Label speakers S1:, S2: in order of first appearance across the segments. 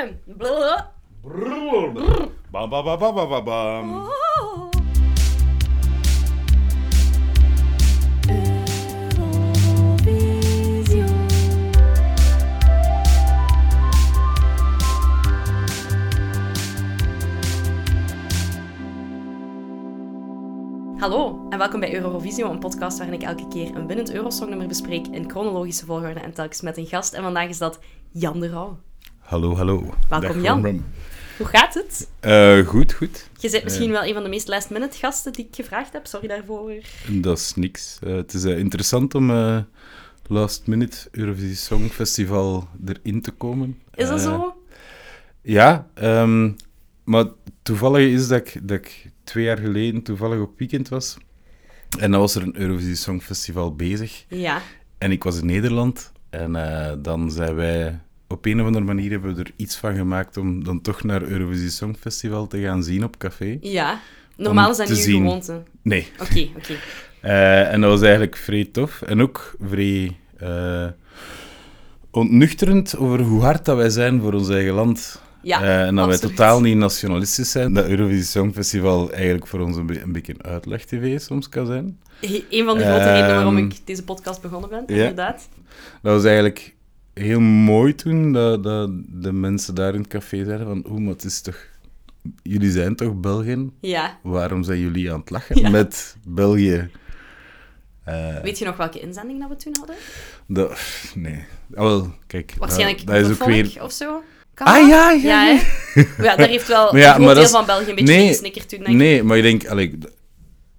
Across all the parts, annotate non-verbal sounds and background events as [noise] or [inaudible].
S1: Blablabla.
S2: Bam, bam, bam, bam, bam, bam, bam.
S1: Oh. Hallo en welkom bij Eurovisio, een podcast waarin ik elke keer een winnend Eurosongnummer bespreek in chronologische volgorde en telkens met een gast. En vandaag is dat Jan de Rauw.
S2: Hallo, hallo.
S3: Dag,
S1: Welkom Jan.
S3: Ron.
S1: Hoe gaat het?
S2: Eh, goed, goed.
S1: Je bent misschien wel een van de meest last-minute gasten die ik gevraagd heb. Sorry daarvoor.
S2: Dat is niks. Eh, het is eh, interessant om eh, last minute Eurovisie Songfestival erin te komen.
S1: Is dat
S2: Eh,
S1: zo?
S2: Ja, ehm, maar toevallig is dat ik, dat ik twee jaar geleden toevallig op weekend was. En dan was er een Eurovisie Songfestival bezig.
S1: Ja.
S2: En ik was in Nederland. En eh, dan zijn wij... Op een of andere manier hebben we er iets van gemaakt om dan toch naar Eurovisie Songfestival te gaan zien op café.
S1: Ja. Normaal is dat
S2: te
S1: niet uw
S2: zien.
S1: gewoonte. Oké,
S2: Nee.
S1: oké.
S2: [laughs] Eh, en dat was eigenlijk vrij tof. En ook vrij eh, ontnuchterend over hoe hard dat wij zijn voor ons eigen land.
S1: Ja,
S2: Eh, en dat wij
S1: absoluut.
S2: totaal niet nationalistisch zijn. Dat Eurovisie Songfestival eigenlijk voor ons een, be- een beetje een uitleg-tv soms kan zijn.
S1: He- Een van de grote redenen waarom
S2: Ehm,
S1: ik deze podcast begonnen ben,
S2: ja.
S1: inderdaad.
S2: Dat was eigenlijk heel mooi toen dat, dat de mensen daar in het café zeiden van... Oeh, maar het is toch... Jullie zijn toch Belgen?
S1: Ja.
S2: Waarom zijn jullie aan het
S1: [laughs]
S2: lachen
S1: Ja.
S2: met België? Eh,
S1: Weet je nog welke inzending dat we toen hadden?
S2: Dat, nee. Ah, wel, kijk.
S1: Waarschijnlijk
S2: dat, dat is ook
S1: Boerenvolk
S2: weer...
S1: of zo. Kan
S2: Ah,
S1: dat?
S2: ja, ja,
S1: Ja, hè? ja, daar heeft wel
S2: Maar [laughs] ja,
S1: een groot
S2: maar dat
S1: deel
S2: is-
S1: van België een beetje
S2: Nee.
S1: nee. gesnikkerd toen, denk ik.
S2: Nee, maar ik denk... Allee, d-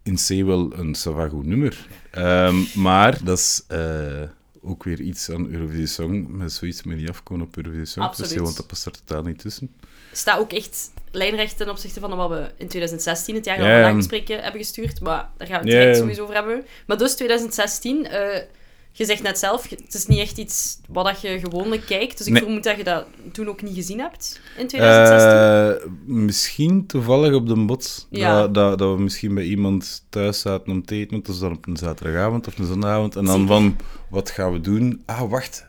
S2: in C wel een Sava goed nummer. Ehm, maar dat is eh, ook weer iets aan Eurovisie Song. Met zoiets moet je niet afkomen op Eurovisie Song.
S1: Absoluut.
S2: Festival, want dat past er totaal niet tussen.
S1: Staat ook echt lijnrecht ten opzichte van wat we in 2016, het jaar
S2: Ja,
S1: dat we
S2: ja.
S1: vandaag bespreken, hebben gestuurd. Maar daar gaan we het
S2: Ja,
S1: direct
S2: ja.
S1: sowieso over hebben. Maar dus 2016, eh, je zegt net zelf, je- het is niet echt iets wat dat je gewoonlijk kijkt. Dus ik
S2: Nee.
S1: vermoed dat je dat toen ook niet gezien hebt in 2016.
S2: Eh, misschien toevallig op de bots.
S1: Ja.
S2: Dat, dat, dat we misschien bij iemand thuis zaten om te eten. Want dat is dan op een zaterdagavond of een zondagavond. En dan
S1: Zeker.
S2: van, wat gaan we doen? Ah, wacht.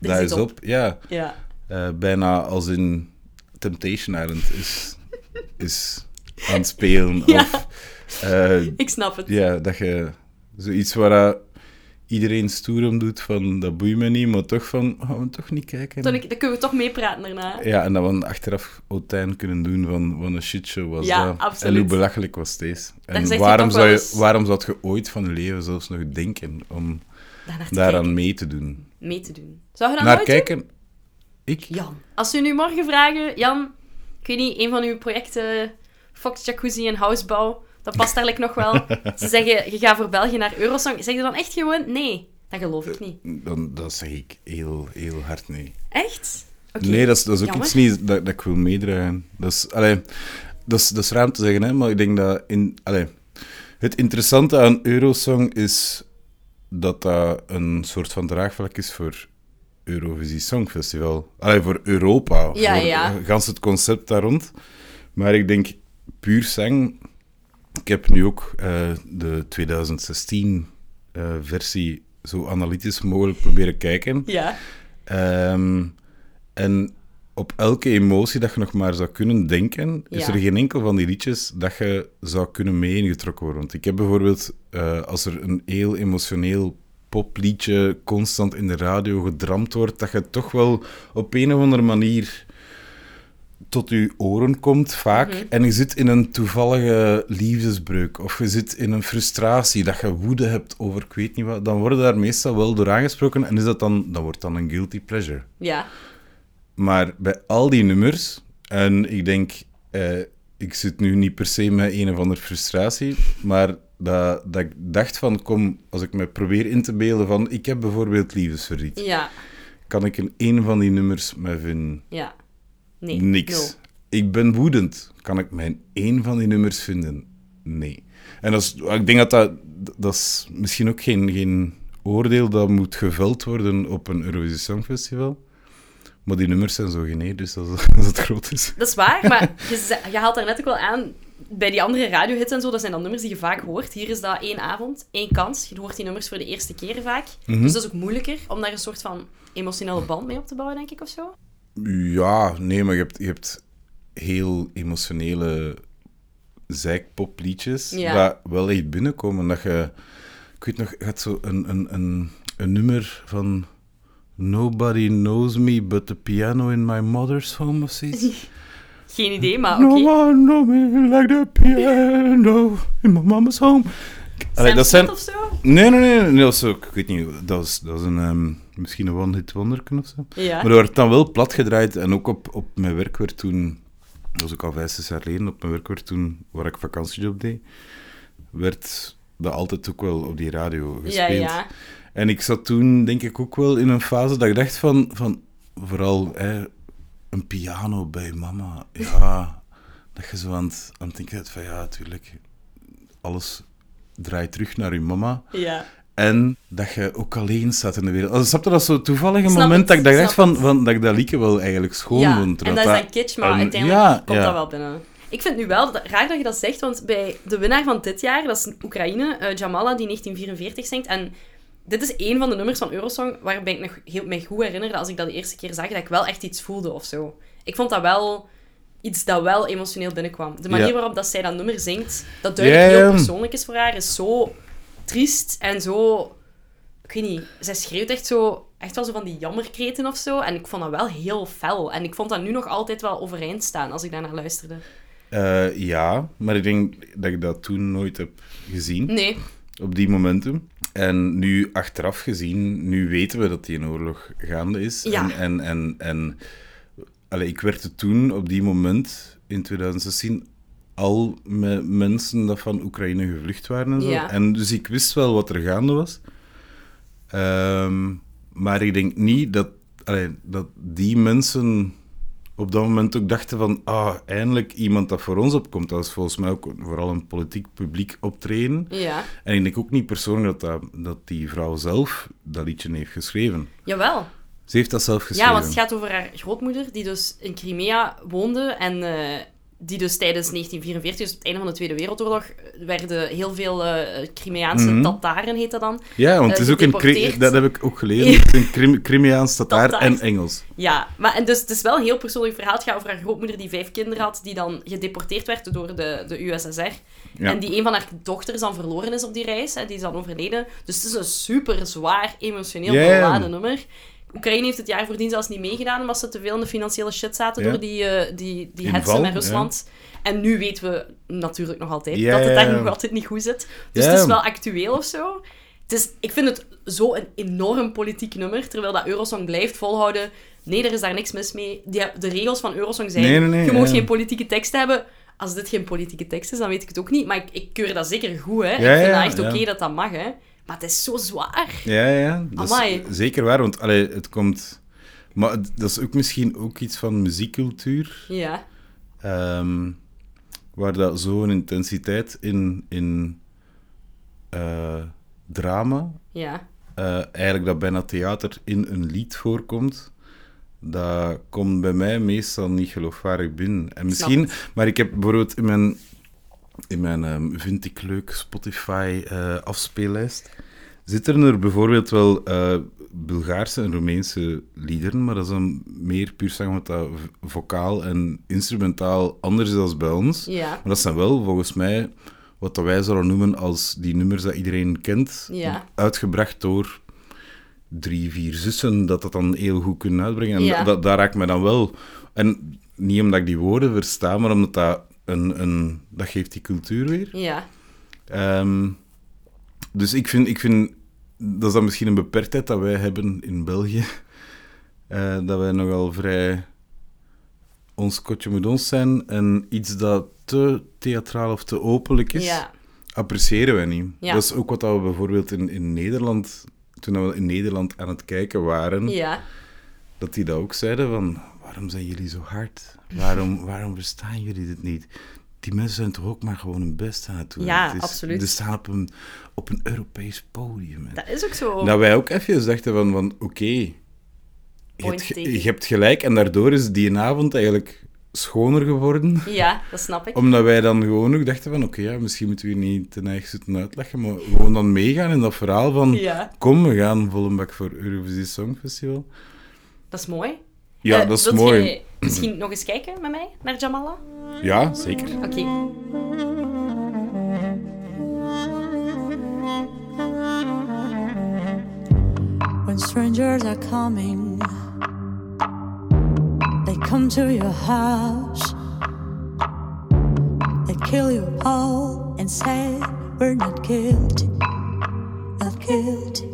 S1: Er
S2: Daar
S1: zit
S2: is
S1: op.
S2: op. Ja.
S1: Ja.
S2: Eh, bijna als in Temptation Island is, is aan het spelen.
S1: [laughs] Ja.
S2: Of eh,
S1: Ik snap het.
S2: ja, dat je zoiets waar eh, iedereen stoer om doet van dat boeit me niet, maar toch van gaan we toch niet kijken.
S1: Dan, ik- dan kunnen we toch meepraten daarna.
S2: Ja, en dat we dan achteraf Otijn kunnen doen van wat een shitshow was
S1: Ja,
S2: dat.
S1: absoluut.
S2: En hoe belachelijk was deze.
S1: zegt je
S2: En waarom
S1: toch
S2: zou,
S1: wel
S2: je,
S1: eens-
S2: waarom zou je ooit van je leven zelfs nog denken om
S1: Daarnaar te kijken,
S2: daaraan mee te doen?
S1: mee te doen. Zou je dat
S2: Naar
S1: nooit doen?
S2: kijken? Ik?
S1: Jan. Als we nu morgen vragen, Jan, ik weet niet, een van uw projecten, Fox Jacuzzi en Housebouw, dat past eigenlijk nog
S2: [laughs]
S1: wel. Ze zeggen, je gaat voor België naar Eurosong. Zeg je dan echt gewoon, nee, dat geloof ik niet.
S2: Dan, dat zeg ik heel, heel hard nee.
S1: Echt? Oké.
S2: Nee, dat is, dat is ook
S1: Jammer.
S2: iets niet dat, dat ik wil meedragen. Dat is, allee, dat, is, dat is raar om te zeggen, hè, maar ik denk dat... In, allee, het interessante aan Eurosong is dat dat een soort van draagvlak is voor Eurovisie Songfestival. Allee, voor Europa.
S1: Ja,
S2: voor
S1: ja.
S2: eh, gans het concept daar rond. Maar ik denk, puur zang... Ik heb nu ook eh, de 2016-versie zo analytisch mogelijk proberen kijken.
S1: Ja.
S2: Ehm, en op elke emotie dat je nog maar zou kunnen denken, is
S1: Ja.
S2: er geen enkel van die liedjes dat je zou kunnen mee ingetrokken worden. Want ik heb bijvoorbeeld, eh, als er een heel emotioneel popliedje constant in de radio gedramd wordt, dat je toch wel op een of andere manier tot je oren komt, vaak. En je zit in een toevallige liefdesbreuk. Of je zit in een frustratie, dat je woede hebt over ik weet niet wat. Dan worden daar meestal wel door aangesproken. En is dat dan, dan wordt dan een guilty pleasure.
S1: Ja.
S2: Maar bij al die nummers, en ik denk, eh, ik zit nu niet per se met een of andere frustratie, maar dat, dat ik dacht van, kom, als ik me probeer in te beelden van, ik heb bijvoorbeeld liefdesverdriet,
S1: Ja.
S2: kan ik in één van die nummers mij vinden?
S1: Ja. Nee.
S2: Niks.
S1: nul.
S2: Ik ben woedend, kan ik mij in één van die nummers vinden? Nee. En dat is, ik denk dat dat, dat is misschien ook geen, geen oordeel dat moet geveld worden op een Eurovisie Songfestival. Maar die nummers zijn zo geneerd, dus dat is, [laughs] dat is het groot is.
S1: Dat is waar, maar je, [laughs] ze- je haalt daar net ook wel aan. Bij die andere radiohits en zo, dat zijn dan nummers die je vaak hoort. Hier is dat één avond, één kans. Je hoort die nummers voor de
S2: Mhm.
S1: eerste keer vaak. Dus dat is ook moeilijker om daar een soort van emotionele band mee op te bouwen, denk ik, of zo.
S2: Ja, nee, maar je hebt, je hebt heel emotionele zeikpopliedjes
S1: Ja.
S2: dat wel echt binnenkomen. Dat je, ik weet nog, je had zo een, een, een, een nummer van Nobody Knows Me But The Piano In My Mother's Home of
S1: [laughs]
S2: zoiets.
S1: Geen idee, maar oké.
S2: No one knows me like the piano in my mama's home. Allee,
S1: Sam Smith
S2: dat zijn...
S1: of zo?
S2: Nee, nee, nee, nee, dat is ook... Ik weet niet, dat is, dat is een... ehm, misschien een one-hit wonderken of zo.
S1: Ja.
S2: Maar dat werd dan wel platgedraaid en ook op, op mijn werk werd toen, dat was ook al vijf, zes jaar geleden, op mijn werk werd toen, waar ik vakantiejob deed, werd dat altijd ook wel op die radio
S1: Ja,
S2: gespeeld.
S1: ja.
S2: En ik zat toen, denk ik, ook wel in een fase dat ik dacht van, van vooral hè, een piano bij
S1: [laughs]
S2: mama. Ja, dat je zo aan het, aan het denken bent van, ja, natuurlijk, alles draait terug naar je mama.
S1: ja.
S2: En dat je ook alleen staat in de wereld. Also, snap je dat zo toevallige
S1: Snap
S2: moment
S1: het,
S2: dat ik dat
S1: snap
S2: dacht van, van dat ik dat liedje wel eigenlijk schoon
S1: ja.
S2: vond.
S1: En dat
S2: want
S1: is dan kitsch, maar
S2: en-
S1: uiteindelijk
S2: ja,
S1: komt
S2: ja.
S1: dat wel binnen. Ik vind nu wel dat, raar dat je dat zegt, want bij de winnaar van dit jaar, dat is Oekraïne, eh, Jamala, die 1944 zingt. En dit is één van de nummers van Eurosong waarbij ik nog heel, mij goed herinnerde als ik dat de eerste keer zag, dat ik wel echt iets voelde of zo. Ik vond dat wel iets dat wel emotioneel binnenkwam. De manier
S2: Ja.
S1: waarop dat zij dat nummer zingt, dat duidelijk
S2: Ja, ja.
S1: heel persoonlijk is voor haar, is zo triest en zo... Ik weet niet, zij schreeuwt echt zo... Echt wel zo van die jammerkreten of zo. En ik vond dat wel heel fel. En ik vond dat nu nog altijd wel overeind staan als ik daarnaar luisterde.
S2: Eh, ja, maar ik denk dat ik dat toen nooit heb gezien,
S1: Nee.
S2: op die momenten. En nu, achteraf gezien, nu weten we dat die een oorlog gaande is.
S1: Ja.
S2: En, en, en, en allee, ik werkte toen, op die moment, in 2016, al met mensen dat van Oekraïne gevlucht waren en zo.
S1: Ja.
S2: En dus ik wist wel wat er gaande was. Ehm, maar ik denk niet dat, allee, dat die mensen op dat moment ook dachten van ah, eindelijk iemand dat voor ons opkomt. Dat is volgens mij ook vooral een politiek publiek optreden.
S1: Ja.
S2: En ik denk ook niet persoonlijk dat, dat, dat die vrouw zelf dat liedje heeft geschreven.
S1: Jawel.
S2: Ze heeft dat zelf geschreven.
S1: Ja, want het gaat over haar grootmoeder, die dus in Crimea woonde en eh, die dus tijdens 1944, dus het einde van de Tweede Wereldoorlog, eh, werden heel veel eh, Crimeaanse
S2: Mhm.
S1: Tataren, heet dat dan.
S2: Ja, want het
S1: eh,
S2: is ook een... Kri-
S1: gedeporteerd.
S2: Dat heb ik ook gelezen. Het is een Krim- Crimeaans, Tataar
S1: Tataars.
S2: en Engels.
S1: Ja, maar en dus het is wel een heel persoonlijk verhaal. Het gaat over haar grootmoeder die vijf kinderen had, die dan gedeporteerd werd door de, de USSR.
S2: Ja.
S1: En die een van haar dochters dan verloren is op die reis. Hè, die is dan overleden. Dus het is een super zwaar, emotioneel
S2: Ja.
S1: beladen nummer. Oekraïne heeft het jaar voordien zelfs niet meegedaan, omdat ze te veel in de financiële shit zaten
S2: Ja.
S1: door die, eh die, die
S2: Inval,
S1: hetsen met
S2: ja.
S1: Rusland. En nu weten we natuurlijk nog altijd
S2: Ja,
S1: dat het
S2: ja,
S1: daar
S2: ja.
S1: nog altijd niet goed zit. Dus
S2: Ja.
S1: het is wel actueel of zo. Het is, ik vind het zo'n enorm politiek nummer, terwijl dat Eurosong blijft volhouden. Nee, er is daar niks mis mee. Die, de regels van Eurosong zijn,
S2: Nee, nee, nee,
S1: je mag
S2: ja.
S1: geen politieke tekst hebben. Als dit geen politieke tekst is, dan weet ik het ook niet. Maar ik, ik keur dat zeker goed, hè. ik
S2: Ja,
S1: vind
S2: ja,
S1: dat echt
S2: ja.
S1: oké dat dat mag, hè. Maar het is zo zwaar.
S2: Ja, ja. Dat
S1: Amai.
S2: is zeker waar, want allee, het komt... Maar het- dat is ook misschien ook iets van muziekcultuur,
S1: Ja.
S2: ehm, waar dat zo'n intensiteit in, in eh, drama,
S1: Ja.
S2: eh, eigenlijk dat bijna theater in een lied voorkomt, dat komt bij mij meestal niet geloofwaardig binnen. En misschien, maar ik heb bijvoorbeeld in mijn, in mijn ehm, vind ik leuk Spotify eh, afspeellijst, zitten er bijvoorbeeld wel eh, Bulgaarse en Roemeense liederen, maar dat is dan meer puur zang, want dat v- vocaal en instrumentaal anders is dan bij ons.
S1: Ja.
S2: Maar dat zijn wel volgens mij wat dat wij zouden noemen als die nummers dat iedereen kent,
S1: Ja.
S2: uitgebracht door drie, vier zussen, dat dat dan heel goed kunnen uitbrengen. En
S1: Ja.
S2: da- daar raak ik me dan wel... En niet omdat ik die woorden versta, maar omdat dat een... een dat geeft die cultuur weer.
S1: Ja.
S2: Ehm, dus ik vind, ik vind... Dat is dan misschien een beperktheid dat wij hebben in België. [laughs] Eh, dat wij nogal vrij... Ons kotje moet ons zijn. En iets dat te theatraal of te openlijk is
S1: Ja.
S2: appreciëren wij niet.
S1: Ja.
S2: Dat is ook wat dat we bijvoorbeeld in, in Nederland, toen we in Nederland aan het kijken waren,
S1: Ja.
S2: dat die dat ook zeiden van, waarom zijn jullie zo
S1: [laughs]
S2: hard? Waarom, waarom verstaan jullie dit niet? Die mensen zijn toch ook maar gewoon hun best aan het doen.
S1: Ja,
S2: Het
S1: absoluut.
S2: Ze staan op een, op een Europees podium. hè.
S1: Dat is ook zo.
S2: Dat wij ook even dachten van, van oké, je
S1: Point
S2: hebt ge-
S1: taken.
S2: je hebt gelijk. En daardoor is die avond eigenlijk schoner geworden.
S1: Ja, dat snap ik.
S2: Omdat wij dan gewoon ook dachten van, oké, ja, misschien moeten we hier niet ten eigen zitten uitleggen, maar gewoon dan meegaan in dat verhaal van,
S1: Ja.
S2: kom, we gaan volle bak voor Eurovisie Songfestival.
S1: Dat is mooi.
S2: Ja,
S1: Eh,
S2: dat is
S1: wilt
S2: mooi.
S1: je misschien nog eens kijken met mij naar Jamala?
S2: Ja, zeker.
S1: Oké.
S3: when strangers are coming. They come to your house, they kill you all and say, We're not guilty, not guilty.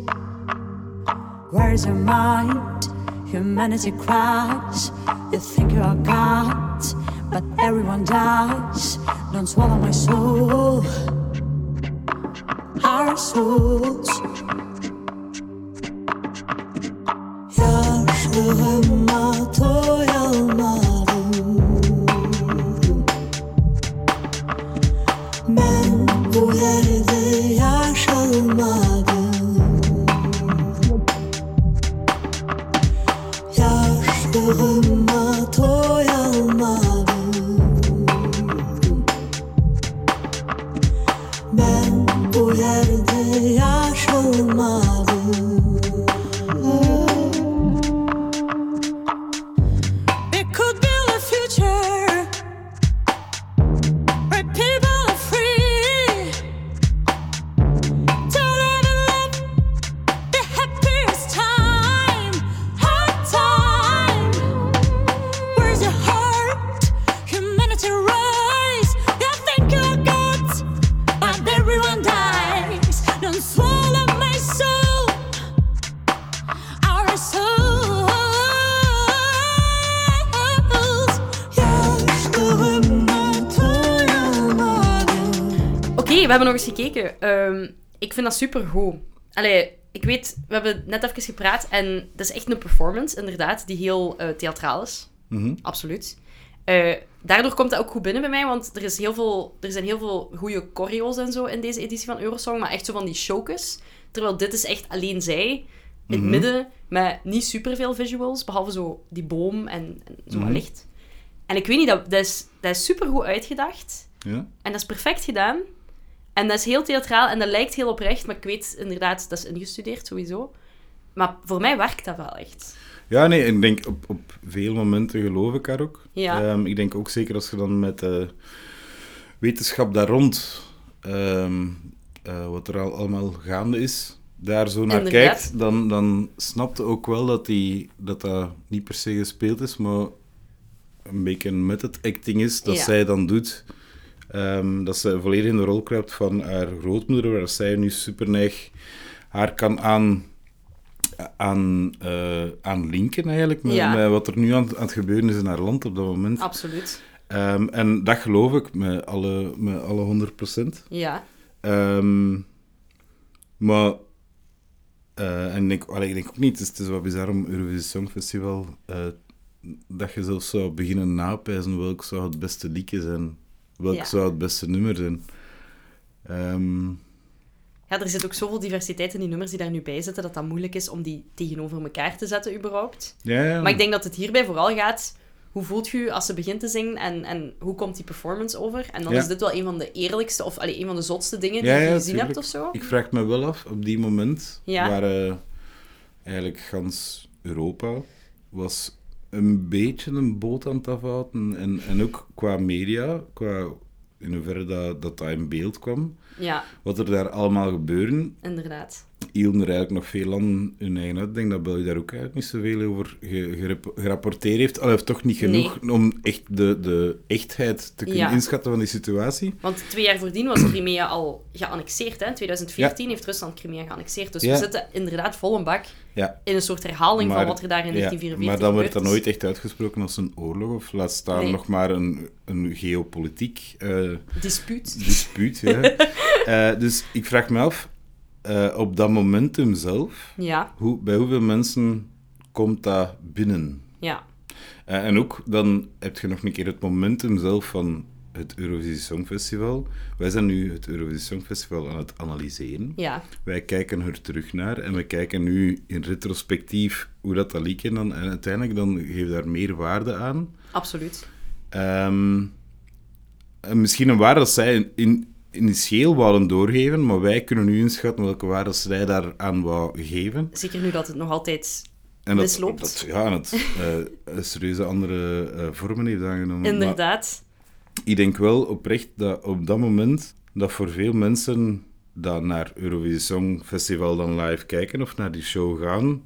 S3: Where is your mind? Humanity cries. You think you are God, but everyone dies. Don't swallow my soul. Our souls. Yaşlığıma doyamadım Ben bu yerde yaşalmadım Yaşlığıma doyamadım Ben bu yerde yaşalmadım We could build a future where people are free to live and love the happiest time, hard time. Where's your heart? Humanity rise. You think you're good, but everyone dies. Don't swallow my soul our souls. Yaşlığıma doyamadım.
S1: Oké, we hebben nog eens gekeken. Ehm, ik vind dat super goed. Allee, ik weet, we hebben net even gepraat en dat is echt een performance, inderdaad, die heel eh, theatraal is. Absoluut. Eh, daardoor komt dat ook goed binnen bij mij, want er, is heel veel, er zijn heel veel goede choreo's en zo in deze editie van Eurosong, maar echt zo van die showcus. Terwijl dit is echt alleen zij, in het midden, met niet superveel visuals, behalve zo die boom en, en zo wat licht. En ik weet niet, dat, dat is, dat is super goed uitgedacht.
S2: Ja?
S1: En dat is perfect gedaan. En dat is heel theatraal en dat lijkt heel oprecht, maar ik weet inderdaad, dat is ingestudeerd sowieso. Maar voor mij werkt dat wel echt.
S2: Ja, nee, ik denk op, op veel momenten geloof ik haar ook.
S1: Ja.
S2: Ehm, ik denk ook zeker als je dan met eh, wetenschap daar rond, ehm, eh, wat er al allemaal gaande is, daar zo naar
S1: Inderdaad.
S2: kijkt, dan, dan snapt je ook wel dat, die, dat dat niet per se gespeeld is, maar een beetje met het acting is dat
S1: Ja.
S2: zij dan doet. Ehm, dat ze volledig in de rol kruipt van haar grootmoeder, waar zij nu super neig haar kan aan, aan, eh, aan linken eigenlijk. Met,
S1: Ja.
S2: met wat er nu aan, aan het gebeuren is in haar land op dat moment.
S1: Absoluut.
S2: Ehm, en dat geloof ik met alle, met alle 100 procent. Ehm,
S1: Ja.
S2: maar, eh, en ik, denk- allee, ik denk ook niet, het is, het is wat bizar om Eurovisie Songfestival, eh, dat je zelfs zou beginnen napijzen welk zou het beste liedje zijn, welk
S1: Ja.
S2: zou het beste nummer zijn. Ehm,
S1: ja. Er zit ook zoveel diversiteit in die nummers die daar nu bij zitten, dat dat moeilijk is om die tegenover elkaar te zetten, überhaupt.
S2: ja, ja.
S1: Maar ik denk dat het hierbij vooral gaat, hoe voelt je je als ze begint te zingen en, en hoe komt die performance over? En dan
S2: Ja.
S1: is dit wel een van de eerlijkste, of allee, een van de zotste dingen die
S2: Ja,
S1: je
S2: ja,
S1: gezien
S2: tuurlijk.
S1: hebt of zo.
S2: Ik vraag me wel af, op die moment,
S1: Ja.
S2: waar eh, eigenlijk gans Europa was een beetje een boot aan het afhouden. En, en ook qua media, qua in hoeverre dat, dat dat in beeld kwam,
S1: Ja,
S2: wat er daar allemaal gebeurde,
S1: inderdaad.
S2: hielden er eigenlijk nog veel landen hun eigen uit. Ik denk dat België daar ook eigenlijk niet zoveel over ge- gerap- gerapporteerd heeft. Al heeft toch niet genoeg om echt de, de echtheid te kunnen
S1: Ja.
S2: inschatten van die situatie.
S1: Want twee jaar voordien was Crimea al geannexeerd. Hè? In 2014 heeft Rusland Crimea geannexeerd. Dus
S2: Ja.
S1: we zitten inderdaad vol een bak
S2: Ja,
S1: in een soort herhaling van wat er daar in
S2: ja,
S1: 1944
S2: Maar dan wordt dat
S1: gebeurd
S2: nooit
S1: is.
S2: echt uitgesproken als een oorlog, of laat staan
S1: Nee.
S2: nog maar een, een geopolitiek eh,
S1: Dispuut.
S2: dispuut.
S1: [laughs]
S2: ja. Eh, dus ik vraag me af, eh, op dat momentum zelf,
S1: Ja,
S2: hoe, bij hoeveel mensen komt dat binnen?
S1: ja.
S2: Eh, en ook, dan heb je nog een keer het momentum zelf van het Eurovisie Songfestival. Wij zijn nu het Eurovisie Songfestival aan het analyseren.
S1: Ja,
S2: Wij kijken er terug naar en we kijken nu in retrospectief hoe dat dat liedje dan... En uiteindelijk dan geeft daar meer waarde aan.
S1: absoluut.
S2: Ehm, en misschien een waarde dat zij in, in, initieel wouden doorgeven, maar wij kunnen nu inschatten welke waarde zij daaraan wou geven.
S1: Zeker nu dat het nog altijd
S2: En dat,
S1: misloopt.
S2: dat- ja, en het eh, een serieuze andere eh, vormen heeft aangenomen. Maar
S1: Inderdaad.
S2: ik denk wel oprecht dat op dat moment dat voor veel mensen dat naar Eurovisie Songfestival dan live kijken of naar die show gaan,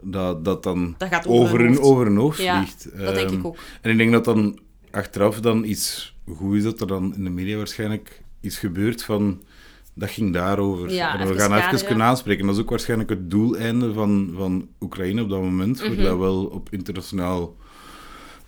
S2: dat dat dan
S1: Dat gaat over
S2: over
S1: hun
S2: hun,
S1: hoofd.
S2: over hun hoofd
S1: Ja,
S2: vliegt.
S1: dat denk
S2: Ehm,
S1: ik ook.
S2: En ik denk dat dan achteraf dan iets goed is dat er dan in de media waarschijnlijk iets gebeurt van dat ging daarover.
S1: Ja,
S2: en we
S1: even
S2: gaan even
S1: kaderen.
S2: kunnen aanspreken. Dat is ook waarschijnlijk het doeleinde van, van Oekraïne op dat moment,
S1: Mhm.
S2: voor dat wel op internationaal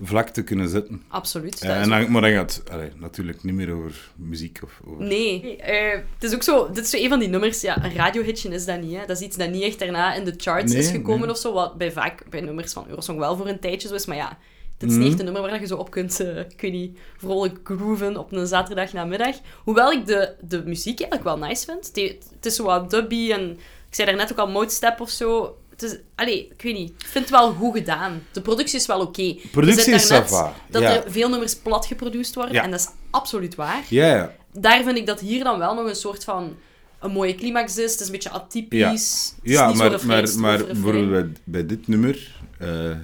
S2: vlak te kunnen zetten.
S1: Absoluut. dat
S2: Ja,
S1: is
S2: Eh, en dan, maar dan gaat het allee, natuurlijk niet meer over muziek of over...
S1: Nee, eh, het is ook zo, dit is zo een van die nummers, ja, een radiohitje is dat niet, hè. Dat is iets dat niet echt daarna in de charts
S2: Nee,
S1: is gekomen
S2: nee.
S1: of zo, wat bij vaak bij nummers van Eurosong wel voor een tijdje zo is, maar ja, dit is
S2: Mhm.
S1: niet echt een nummer waar je zo op kunt, eh, ik weet niet, vrolijk grooven op een zaterdagnamiddag. Hoewel ik de, de muziek eigenlijk wel nice vind. Die- Het is zo wat dubby en, ik zei daarnet ook al, motestep of zo. Het is, allee, ik weet niet, ik vind het wel goed gedaan. De productie is wel oké. Je zei
S2: Productie is
S1: daarnet
S2: ça va,
S1: Dat
S2: ja.
S1: er veel nummers plat geproduceerd worden,
S2: Ja.
S1: en dat is absoluut waar
S2: Ja, ja.
S1: daar vind ik dat hier dan wel nog een soort van een mooie climax is. Het is een beetje atypisch.
S2: Ja.
S1: Het is
S2: ja
S1: niet zo
S2: maar,
S1: refrein,
S2: maar,
S1: strofe,
S2: maar
S1: refrein.
S2: bijvoorbeeld bij, bij dit nummer eh,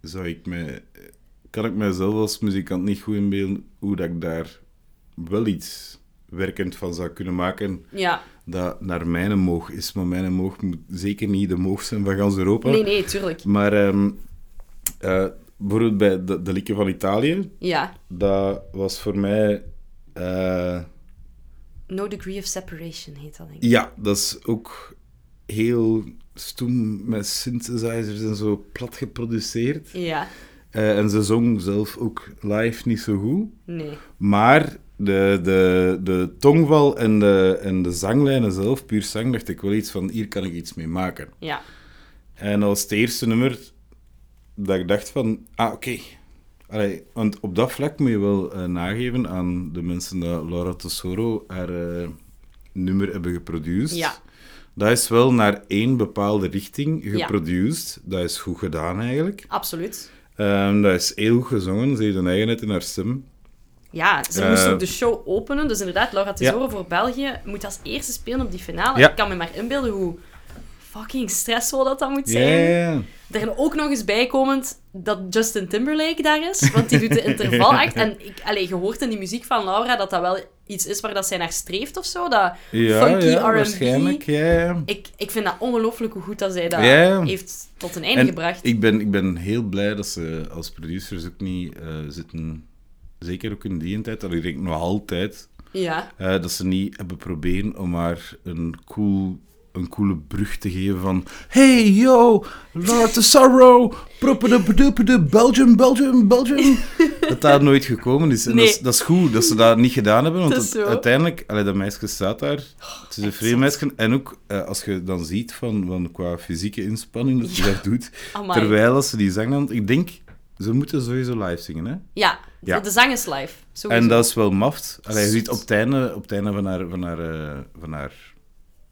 S2: zou ik me, kan ik mijzelf als muzikant niet goed inbeelden hoe dat ik daar wel iets werkend van zou kunnen maken
S1: Ja,
S2: dat naar mijn moog is. Maar mijn moog moet zeker niet de moog zijn van gans Europa.
S1: nee, nee, tuurlijk.
S2: Maar ehm, eh, bijvoorbeeld bij de, de Lieke van Italië,
S1: Ja.
S2: dat was voor mij... eh,
S1: No degree of separation heet dat, denk ik.
S2: Ja, dat is ook heel stoem met synthesizers en zo plat geproduceerd.
S1: Ja,
S2: Eh, en ze zong zelf ook live niet zo goed.
S1: nee.
S2: Maar de, de, de tongval en de, en de zanglijnen zelf, puur zang, dacht ik wel iets van hier kan ik iets mee maken.
S1: Ja,
S2: En als het eerste nummer dat ik dacht van, ah oké. Allee, want op dat vlak moet je wel eh, nageven aan de mensen dat Laura Tesoro haar eh, nummer hebben geproduceerd.
S1: Ja.
S2: Dat is wel naar één bepaalde richting geproduceerd. Dat is goed gedaan eigenlijk.
S1: absoluut.
S2: Ehm, dat is heel goed gezongen. Ze heeft een eigenheid in haar stem.
S1: Ja, ze
S2: Eh.
S1: moest ook de show openen. Dus inderdaad, Laura Tesoro
S2: Ja.
S1: voor België moet als eerste spelen op die finale.
S2: Ja.
S1: Ik kan me maar inbeelden hoe fucking stressvol dat dan moet
S2: Ja,
S1: zijn.
S2: ja, ja.
S1: Er ook nog eens bijkomend dat Justin Timberlake daar is, want die doet de intervalact. En ik, allee, je hoort in die muziek van Laura dat dat wel iets is waar dat zij naar streeft of zo. Dat
S2: Ja,
S1: funky
S2: ja, waarschijnlijk.
S1: R&B.
S2: Ja, ja.
S1: Ik, ik vind dat ongelooflijk hoe goed dat zij dat
S2: Ja.
S1: heeft tot een einde
S2: En
S1: gebracht.
S2: Ik ben, ik ben heel blij dat ze als producers ook niet eh, zitten, zeker ook in die tijd, dat ik denk nog altijd,
S1: Ja,
S2: eh, dat ze niet hebben proberen om haar een, cool, een coole brug te geven van Hey yo, Lord the Sorrow, propedupedupedu, Belgium,
S1: [laughs]
S2: Belgium, Belgium. dat daar nooit gekomen is. En
S1: Nee.
S2: dat, is, dat is goed dat ze dat niet gedaan hebben, want
S1: Het is
S2: het-
S1: zo. Oh,
S2: uiteindelijk, allee, dat meisje staat daar, het is een vreemd meisje. En ook eh, als je dan ziet van, van qua fysieke inspanning dat ze
S1: Ja.
S2: dat doet,
S1: Amai.
S2: terwijl als ze die zangland, ik denk, ze moeten sowieso live zingen, hè?
S1: ja.
S2: Ja.
S1: de zang is live. Sowieso.
S2: En dat is wel maft. Allee, je ziet op het einde, op het einde van haar, van haar, eh, van haar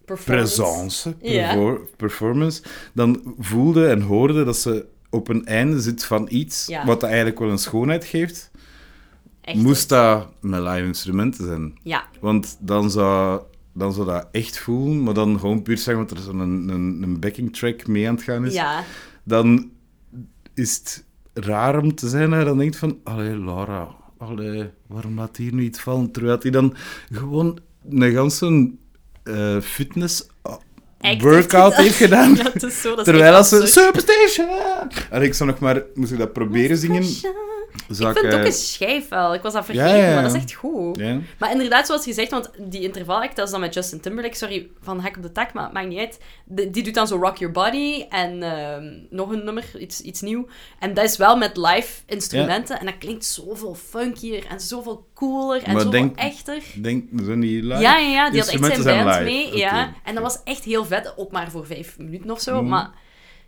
S1: Performance.
S2: presence,
S1: Ja.
S2: perfor- performance, dan voelde en hoorde dat ze op een einde zit van iets
S1: Ja.
S2: wat dat eigenlijk wel een schoonheid geeft.
S1: Echt.
S2: Moest dat met live instrumenten zijn.
S1: Ja,
S2: Want dan zou, dan zou dat echt voelen, maar dan gewoon puur zeggen, want er zo'n een, een, een backing track mee aan het gaan is.
S1: ja.
S2: Dan is het raar om te zijn dat je dan denkt van, allee Laura, allee, waarom laat hier niet vallen? Terwijl hij dan gewoon een ganse eh, fitness
S1: Act
S2: workout heeft gedaan.
S1: Ja, het is zo, [laughs] dat is
S2: Terwijl
S1: echt
S2: als ze...
S1: absurd.
S2: Superstation! Allee, ik zou nog maar... Moest ik dat proberen zingen? Zou
S1: Ik vind het
S2: eh,
S1: ook een schijf wel. Ik was dat
S2: ja,
S1: vergeten,
S2: ja.
S1: maar dat is echt goed.
S2: Ja.
S1: Maar inderdaad, zoals gezegd, want die intervalact, dat is dan met Justin Timberlake, sorry, van hak op de tak, maar het maakt niet uit. De- die doet dan zo Rock Your Body en ehm, nog een nummer, iets, iets nieuw. En dat is wel met live instrumenten en dat klinkt zoveel funkier en zoveel cooler en
S2: Maar
S1: zoveel
S2: denk-
S1: echter.
S2: Denk, zijn die live?
S1: Ja, ja, ja, die had echt zijn
S2: Instrumenten
S1: band
S2: live.
S1: mee.
S2: Oké. Mm.
S1: Ja. En dat was echt heel vet, ook maar voor vijf minuten of zo. Maar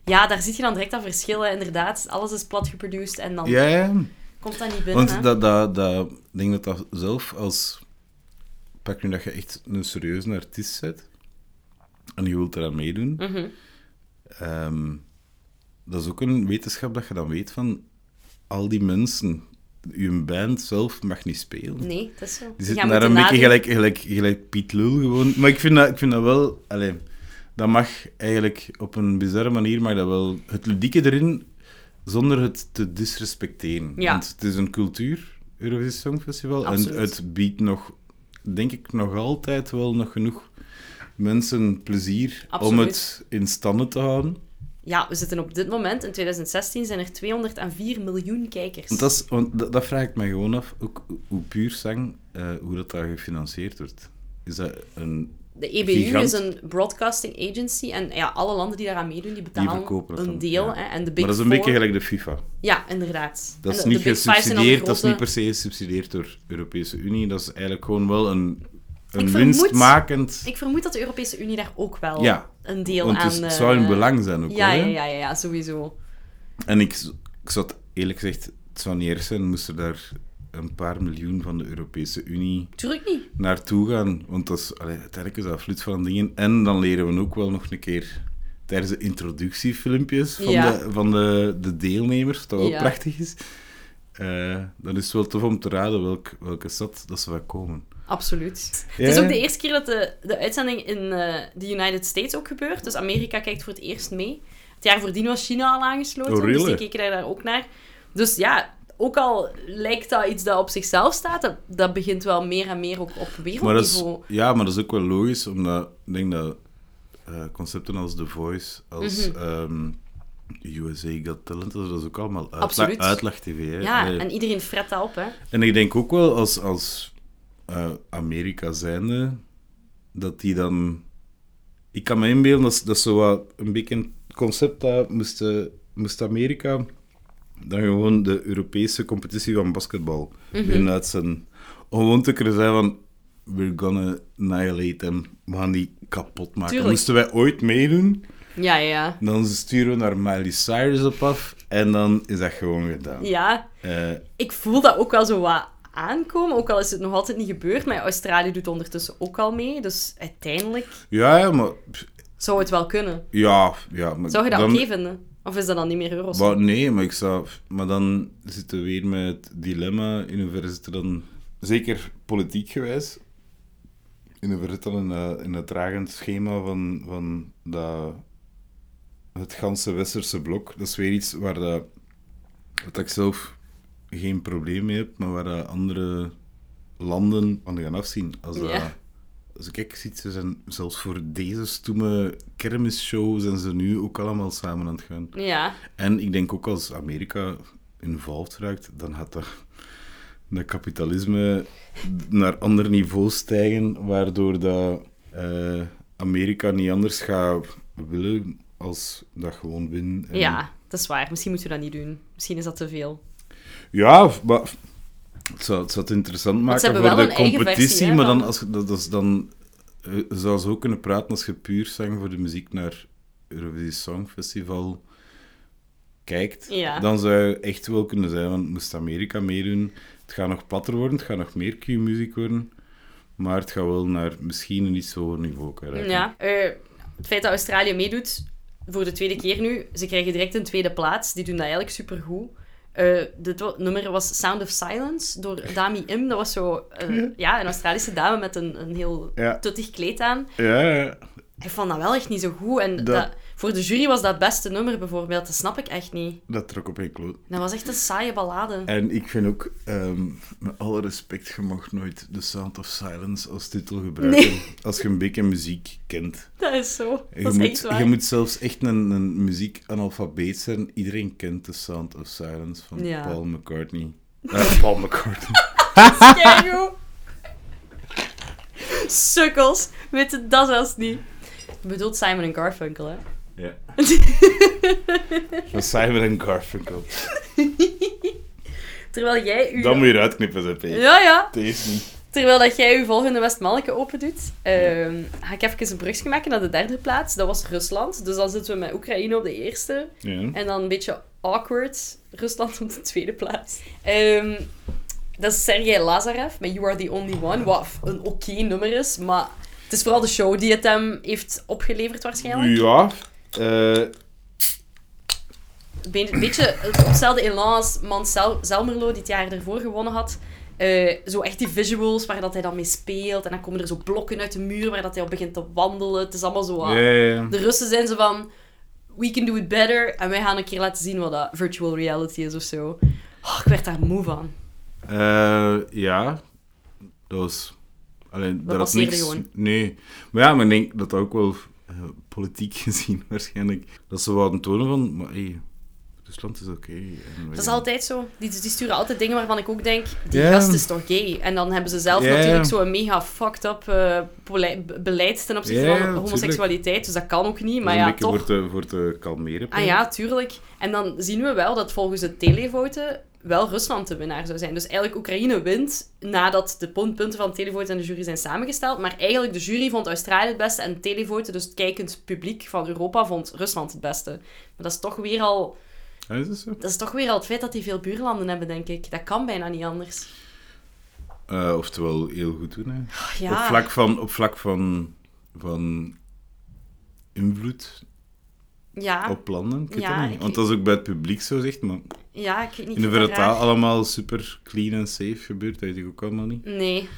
S1: ja, daar zie je dan direct dat verschil, hè. inderdaad. Alles is plat geproduced en dan
S2: Ja, ja.
S1: komt dat niet binnen. hè.
S2: Want dat, dat, dat, ik denk dat dat zelf als... Pak nu dat je echt een serieuze artiest bent en je wilt eraan meedoen.
S1: Mhm.
S2: Ehm, dat is ook een wetenschap dat je dan weet van al die mensen. Je band zelf mag niet spelen.
S1: Nee, dat is zo. gaan
S2: Die zitten daar een beetje gelijk, gelijk, gelijk Piet Lul gewoon. Maar ik vind dat, ik vind dat wel... Allee, dat mag eigenlijk op een bizarre manier, maar dat wel het ludieke erin, zonder het te disrespecteren.
S1: Ja.
S2: Want het is een cultuur, Eurovisie Songfestival,
S1: Absoluut.
S2: en het biedt nog, denk ik, nog altijd wel nog genoeg mensen plezier om
S1: Absoluut.
S2: het in standen te houden.
S1: Ja, we zitten op dit moment, in 2016, zijn er 204 miljoen kijkers.
S2: Want dat, is, want dat, dat vraag ik me gewoon af, ook hoe puur zang, eh, hoe dat daar gefinancierd wordt. Is dat een...
S1: De EBU
S2: Gigant.
S1: is een broadcasting agency en ja, alle landen die daaraan meedoen, die
S2: Die
S1: betalen
S2: verkopen dat
S1: een
S2: dan,
S1: deel.
S2: ja.
S1: Hè, en de Big
S2: maar dat is een
S1: Four-
S2: beetje gelijk de FIFA.
S1: Ja, inderdaad.
S2: Dat
S1: En
S2: is
S1: de-
S2: niet
S1: de Big Five zijn dan de
S2: gesubsidieerd, dat is
S1: grote-
S2: niet per se gesubsidieerd door de Europese Unie. Dat is eigenlijk gewoon wel een, een
S1: vermoed-
S2: winstmakend...
S1: Ik vermoed dat de Europese Unie daar ook wel
S2: Ja.
S1: een deel
S2: want
S1: aan...
S2: het, is- het zou hun
S1: eh,
S2: belang zijn ook
S1: Ja,
S2: wel,
S1: ja,
S2: hè.
S1: ja, ja, ja, sowieso.
S2: En ik, z- ik zou het eerlijk gezegd, het zou niet erg zijn, moest er daar een paar miljoen van de Europese Unie
S1: Tuurlijk niet.
S2: naartoe gaan. Want dat is, allee, uiteindelijk is dat vloed van dingen. En dan leren we ook wel nog een keer tijdens de introductiefilmpjes van,
S1: Ja.
S2: de, van de, de deelnemers, dat wel
S1: Ja.
S2: prachtig is. Eh, dan is het wel tof om te raden welk, welke stad dat ze van komen.
S1: Absoluut.
S2: Ja.
S1: Het is ook de eerste keer dat de, de uitzending in eh, de United States ook gebeurt. Dus Amerika kijkt voor het eerst mee. Het jaar voordien was China al aangesloten,
S2: Oh, really?
S1: dus die keken daar- daar ook naar. Dus ja, ook al lijkt dat iets dat op zichzelf staat, dat, dat begint wel meer en meer ook op
S2: Maar dat is,
S1: wereldniveau.
S2: ja, maar dat is ook wel logisch, omdat ik denk dat eh, concepten als The Voice, als
S1: Mhm.
S2: ehm, USA Got Talent, dat is ook allemaal uitla
S1: Absoluut.
S2: uitleg-tv. hè.
S1: Ja,
S2: Allee.
S1: en iedereen fret dat op, hè.
S2: En ik denk ook wel als, als eh, Amerika zijnde, dat die dan. Ik kan me inbeelden dat, is- dat is zo wat een beetje een concept dat moest, eh, moest Amerika dan gewoon de Europese competitie van basketbal
S1: Mhm.
S2: beginnen uitzenden. Om gewoon te kunnen zijn van. We're gonna annihilate them. We gaan die kapot maken.
S1: Tuurlijk.
S2: Moesten wij ooit meedoen,
S1: Ja, ja, ja.
S2: dan sturen we naar Miley Cyrus op af. En dan is dat gewoon gedaan.
S1: Ja,
S2: Eh,
S1: ik voel dat ook wel zo wat aankomen, ook al is het nog altijd niet gebeurd. Maar Australië doet ondertussen ook al mee, dus uiteindelijk
S2: ja, ja, maar
S1: zou het wel kunnen.
S2: Ja, ja. Maar
S1: Zou je dat
S2: dan-
S1: oké vinden? Of is dat dan niet meer euro's?
S2: Maar nee, maar ik zou... Maar dan zitten we weer met het dilemma. In hoeverre zit er dan... Zeker politiek gewijs. In hoeverre zit er dan in, dat- in het dragend schema van, van dat, het ganse westerse blok. Dat is weer iets waar dat, wat ik zelf geen probleem mee heb, maar waar dat andere landen van gaan afzien. Als dat...
S1: Ja.
S2: Als ik kijk, ziet ze zijn zelfs voor deze stoeme kermisshow zijn ze nu ook allemaal samen aan het gaan.
S1: Ja,
S2: En ik denk ook als Amerika involved raakt, dan gaat dat, dat kapitalisme naar ander niveau stijgen, waardoor dat, eh, Amerika niet anders gaat willen als dat gewoon win. En-
S1: ja, dat is waar. Misschien moeten we dat niet doen. Misschien is dat te veel.
S2: Ja, maar het zou het, zou het interessant maken
S1: hebben
S2: voor
S1: wel
S2: de
S1: een eigen
S2: competitie,
S1: versie, hè,
S2: maar dan,
S1: van-
S2: als, je- dat, dat is dan eh, zou ze ook kunnen praten als je puur zang voor de muziek naar Eurovisie Songfestival kijkt,
S1: Ja.
S2: dan zou je echt wel kunnen zijn, want moest Amerika meedoen, het gaat nog platter worden, het gaat nog meer Q-muziek worden, maar het gaat wel naar misschien een iets hoger niveau krijgen.
S1: Ja. Eh, het feit dat Australië meedoet, voor de tweede keer nu, ze krijgen direct een tweede plaats. Die doen dat eigenlijk supergoed. Eh dit wa- nummer was Sound of Silence
S2: [laughs]
S1: door Dami Im. Dat was zo eh, ja, een Australische dame met een, een heel
S2: Ja.
S1: tuttig kleed aan.
S2: Ja, ja.
S1: Ik vond dat wel echt niet zo goed. En
S2: Dat-
S1: dat, voor de jury was dat beste nummer bijvoorbeeld. Dat snap ik echt niet.
S2: dat trok op een kloot.
S1: Dat was echt een saaie ballade.
S2: En ik vind ook, ehm, met alle respect, je mag nooit The Sound of Silence als titel gebruiken.
S1: Nee.
S2: Als je een beetje muziek kent.
S1: Dat is zo.
S2: Je,
S1: Dat is
S2: moet,
S1: echt waar.
S2: je moet zelfs echt een, een muziekanalfabeet zijn. Iedereen kent The Sound of Silence van
S1: Ja.
S2: Paul
S1: [laughs]
S2: McCartney. Eh, Paul McCartney.
S1: Keigoed. Sukkels. Weet dat zelfs niet. Je bedoelt Simon en Garfunkel, hè? [laughs]
S2: ja. Van Simon en Garfunkel.
S1: Terwijl jij uw...
S2: Dat moet je eruit knippen, zeg Peter.
S1: Ja, ja.
S2: Deze niet.
S1: Terwijl dat jij uw volgende Westmanneke open doet, ehm, ga ik even een brugje maken naar de derde plaats. Dat was Rusland. Dus dan zitten we met Oekraïne op de eerste.
S2: Ja.
S1: En dan een beetje awkward Rusland op de tweede plaats. Ehm, dat is Sergei Lazarev met You Are The Only One. Wat een oké nummer is, maar het is vooral de show die het hem heeft opgeleverd waarschijnlijk.
S2: Ja. eh,
S1: Een beetje op hetzelfde elan als Mansel Zelmerlo die het jaar ervoor gewonnen had. eh, zo echt die visuals waar dat hij dan mee speelt. En dan komen er zo blokken uit de muur waar dat hij op begint te wandelen. Het is allemaal zo... ah,
S2: Ja, ja, ja.
S1: De Russen zijn ze van... We can do it better. En wij gaan een keer laten zien wat dat virtual reality is of zo. Oh, ik werd daar moe van.
S2: Eh, ja, dat was... Allee, dat was
S1: passeerde
S2: niks...
S1: gewoon.
S2: Nee. Maar ja, maar ik denk dat dat ook wel eh, politiek [laughs] gezien waarschijnlijk... Dat ze wouden tonen van... Maar hey, Rusland is oké. en wij-
S1: Dat is altijd zo. Die, die sturen altijd dingen waarvan ik ook denk, die
S2: Ja.
S1: gast is toch gay? En dan hebben ze zelf
S2: Ja.
S1: natuurlijk zo'n mega fucked up eh, bele- be- beleid ten opzichte
S2: Ja,
S1: van
S2: tuurlijk.
S1: homoseksualiteit. Dus dat kan ook niet,
S2: Dat
S1: maar
S2: is een
S1: ja,
S2: beetje
S1: toch.
S2: Voor te, voor te kalmeren.
S1: Ah ja, tuurlijk. En dan zien we wel dat volgens de televoten wel Rusland de winnaar zou zijn. Dus eigenlijk Oekraïne wint nadat de pun- punten van de televoten en de jury zijn samengesteld. Maar eigenlijk de jury vond Australië het beste en de televoten, dus het kijkend publiek van Europa, vond Rusland het beste. Maar dat is toch weer al
S2: Ja, Ah, is dat zo?
S1: dat is toch weer al het feit dat die veel buurlanden hebben, denk ik. Dat kan bijna niet anders.
S2: Eh, oftewel, heel goed doen, hè. Op
S1: Ja,
S2: vlak van... Op vlak van, van invloed
S1: ja,
S2: op landen. Ik weet
S1: Ah. Ja,
S2: dat niet.
S1: ik-
S2: Want dat is ook bij het publiek zo, zegt. Maar
S1: ja, ik weet niet.
S2: in de
S1: ik vind
S2: verre
S1: dat
S2: taal
S1: raar.
S2: allemaal super clean en safe gebeurt. Dat weet ik ook allemaal niet.
S1: Nee.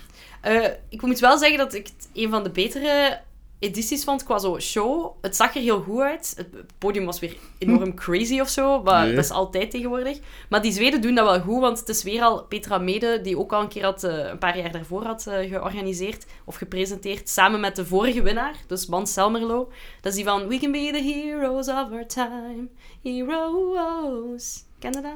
S1: Eh, ik moet wel zeggen dat ik het een van de betere edities vond qua zo show. Het zag er heel goed uit. Het podium was weer
S2: [laughs]
S1: enorm crazy of zo, maar
S2: Nee.
S1: dat is altijd tegenwoordig. Maar die Zweden doen dat wel goed, want het is weer al Petra Mede, die ook al een keer had, eh, een paar jaar daarvoor had eh, georganiseerd of gepresenteerd, samen met de vorige winnaar, dus Mans Selmerlo. Dat is die van We can be the heroes of our time. Heroes. Ken je dat?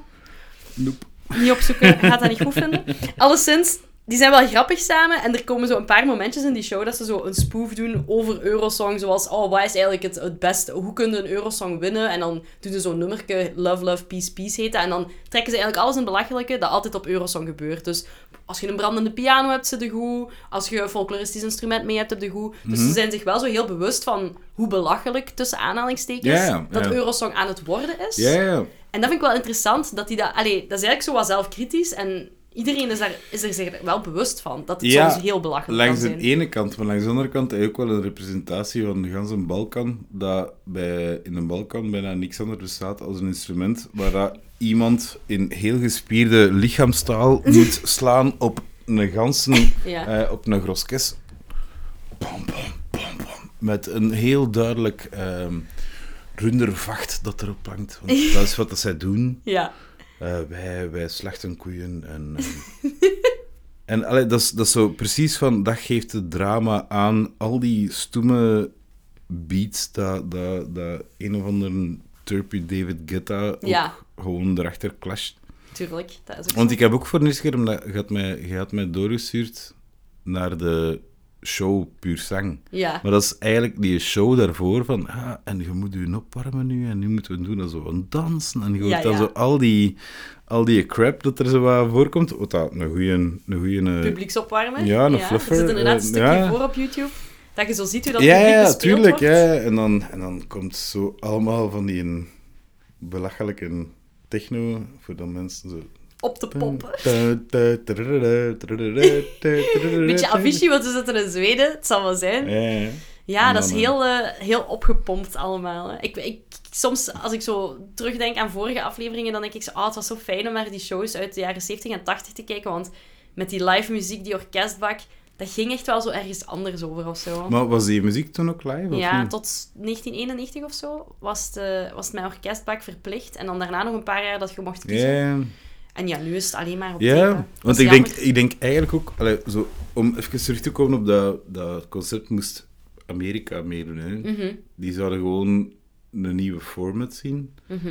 S2: Noep.
S1: niet opzoeken, [laughs] je gaat dat niet goed vinden. Alleszins, die zijn wel grappig samen. En er komen zo een paar momentjes in die show dat ze zo een spoof doen over Eurosong. Zoals, oh, wat is eigenlijk het, het beste? Hoe kunnen een Eurosong winnen? En dan doen ze zo'n nummerke Love, Love, Peace, Peace heten. En dan trekken ze eigenlijk alles in het belachelijke dat altijd op Eurosong gebeurt. Dus als je een brandende piano hebt, zit de goed. Als je een folkloristisch instrument mee hebt, heb de goed. Dus
S2: Mhm.
S1: ze zijn zich wel zo heel bewust van hoe belachelijk, tussen aanhalingstekens,
S2: Ja, ja.
S1: dat Eurosong aan het worden is.
S2: Ja, ja.
S1: En dat vind ik wel interessant, dat hij dat... Allee, dat is eigenlijk zo wat zelfkritisch en iedereen is, daar, is er zich wel bewust van, dat het
S2: Ja,
S1: soms heel belachelijk kan
S2: Langs de
S1: zijn.
S2: ene kant, maar langs de andere kant heb je ook wel een representatie van de ganse Balkan, dat bij, in de Balkan bijna niks anders bestaat als een instrument waar dat iemand in heel gespierde lichaamstaal
S1: [laughs]
S2: moet slaan op een ganse,
S1: Ja.
S2: eh, op een groskes. Bam, bam, bam, bam. Met een heel duidelijk ehm rundervacht dat erop
S1: [laughs]
S2: hangt. Want dat is wat dat zij doen.
S1: Ja.
S2: Eh, wij, wij slachten koeien en... ehm, [laughs] en allee, dat, is, dat is zo precies van... Dat geeft het drama aan al die stoeme beats dat, dat, dat een of ander turpy David Guetta ook
S1: Ja.
S2: gewoon erachter clasht.
S1: Tuurlijk, dat is ook
S2: Want
S1: zo.
S2: ik heb ook voor de eerste keer... Omdat, je, had mij, je had mij doorgestuurd naar de show Puur Zang.
S1: Ja.
S2: Maar dat is eigenlijk die show daarvoor van, ah, en je moet je opwarmen nu, en nu moeten we doen dat zo van dansen. En je hoort
S1: Ja,
S2: dan
S1: ja.
S2: zo al die, al die crap dat er zo wat voorkomt. Wat dat een goeie... Een goeie eh,
S1: Publieksopwarmen.
S2: ja, een
S1: Er
S2: fluffer,
S1: zit inderdaad een
S2: eh,
S1: stukje
S2: ja.
S1: voor op YouTube, dat je zo ziet hoe dat
S2: ja,
S1: publiek
S2: ja,
S1: bespeeld
S2: tuurlijk.
S1: wordt.
S2: Ja. En, dan, en dan komt zo allemaal van die belachelijke techno, voor dan mensen zo...
S1: Op te
S2: [laughs]
S1: pompen. Beetje
S2: Beetje
S1: Avicii, want we zitten in Zweden, het zal wel zijn.
S2: Ja, ja.
S1: Ja,
S2: En
S1: dat is
S2: dan,
S1: heel, eh, heel opgepompt allemaal. hè. Ik, ik, soms, als ik zo terugdenk aan vorige afleveringen, dan denk ik zo... Oh, het was zo fijn om naar die shows uit de jaren 70 en 80 te kijken. Want met die live muziek, die orkestbak, dat ging echt wel zo ergens anders over of zo.
S2: Maar was die muziek toen ook live? of
S1: ja,
S2: niet?
S1: tot 1991 of zo was het, eh, was het mijn orkestbak verplicht. En dan daarna nog een paar jaar dat je mocht
S2: Ja,
S1: kiezen.
S2: ja.
S1: En ja, nu is het alleen maar op
S2: Ja,
S1: tape, hè. Dat
S2: want
S1: is
S2: ik denk,
S1: jammer.
S2: ik denk eigenlijk ook, allee, zo, om even terug te komen op dat, dat concept, moest Amerika meedoen. Hè.
S1: Mhm.
S2: Die zouden gewoon een nieuwe format zien,
S1: Mhm.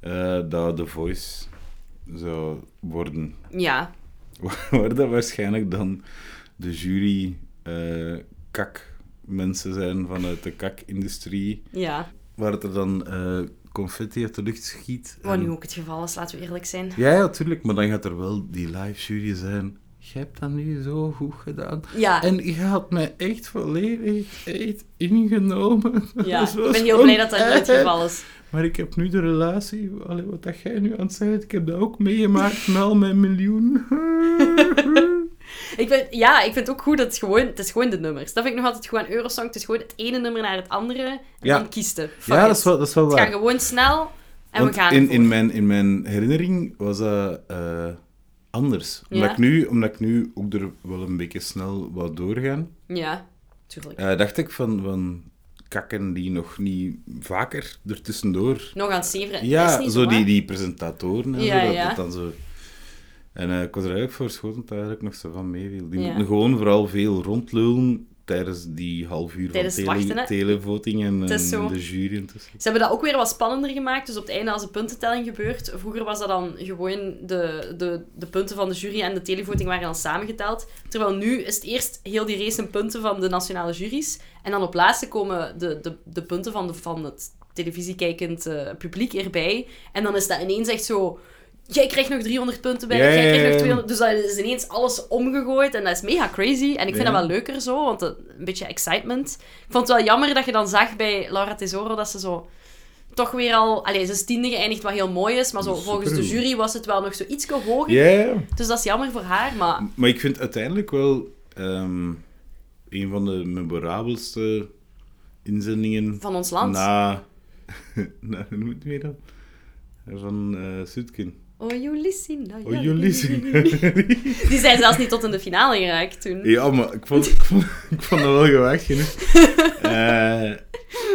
S2: eh, dat The Voice zou worden. [laughs]
S1: Ja,
S2: Waar dat waarschijnlijk dan de jury eh, kak mensen zijn vanuit de kakindustrie,
S1: ja.
S2: waar het er dan eh, confetti uit de lucht schiet.
S1: Wat
S2: en-
S1: nu ook het geval is, laten we eerlijk zijn.
S2: ja, ja, tuurlijk, maar dan gaat er wel die live jury zijn. Je hebt dat nu zo goed gedaan.
S1: Ja.
S2: En je had mij echt volledig echt ingenomen. [laughs]
S1: Ja,
S2: Dat was
S1: ik ben heel blij dat dat niet
S2: oneindig.
S1: het geval is.
S2: Maar ik heb nu de relatie, allee, wat dat jij nu aan het zeggen, ik heb dat ook meegemaakt [laughs] met al mijn
S1: [laughs]
S2: miljoen.
S1: Ik vind, ja, ik vind het ook goed dat het gewoon... Het is gewoon de nummers. Dat vind ik nog altijd goed aan Eurosong. Het is gewoon het ene nummer naar het andere. En
S2: Ja.
S1: dan kiest je. Fuck
S2: ja,
S1: it.
S2: dat is wel, dat is wel
S1: Het gaat
S2: waar.
S1: gewoon snel. En
S2: Want
S1: we gaan
S2: in,
S1: ervoor.
S2: in, mijn, in mijn herinnering was dat eh, anders. Omdat,
S1: Ja.
S2: ik nu, omdat ik nu ook er wel een beetje snel wat doorgaan,
S1: Ja, tuurlijk.
S2: eh, dacht ik van, van kakken die nog niet vaker ertussendoor
S1: Nog aan het zeveren. Dat
S2: Ja,
S1: is
S2: zo,
S1: niet hè?
S2: die, die presentatoren en
S1: Ja,
S2: zo, dat
S1: ja.
S2: het dan zo... En eh, ik was er eigenlijk voor schoten dat eigenlijk nog zo van meeviel. Die
S1: Ja.
S2: moeten gewoon vooral veel rondlullen tijdens die half uur
S1: Tijdens het
S2: van tele
S1: wachten, hè.
S2: televoting en,
S1: is
S2: en
S1: zo.
S2: de jury intussen.
S1: Ze hebben dat ook weer wat spannender gemaakt. Dus op het einde, als de puntentelling gebeurt... Vroeger was dat dan gewoon de, de, de punten van de jury en de televoting waren dan samengeteld. Terwijl nu is het eerst heel die race een punten van de nationale juries. En dan op laatste komen de, de, de punten van, de, van het televisiekijkend eh, publiek erbij. En dan is dat ineens echt zo... Jij krijgt nog 300 punten bij,
S2: Ja,
S1: jij
S2: ja,
S1: krijgt nog
S2: ja.
S1: 200... Dus dat is ineens alles omgegooid en dat is mega crazy. En ik vind dat
S2: Ja.
S1: wel leuker zo, want dat- een beetje excitement. Ik vond het wel jammer dat je dan zag bij Laura Tesoro dat ze zo toch weer al... Allee, ze is tiende geëindigd, wat heel mooi is, maar zo,
S2: Dat is
S1: volgens de
S2: supergoed.
S1: jury was het wel nog zo iets hoger.
S2: Ja,
S1: Dus dat is jammer voor haar, maar...
S2: maar ik vind uiteindelijk wel ehm, een van de memorabelste inzendingen...
S1: Van ons land.
S2: Na... [laughs] na hoe noem je het weer dan? Van eh Sutkin.
S1: Oh, Julissina.
S2: Oh, [laughs] jullie zien.
S1: Die zijn zelfs niet tot in de finale geraakt toen.
S2: Ja, maar ik vond, ik vond, ik vond dat wel gewaagd [laughs] genoeg. Eh,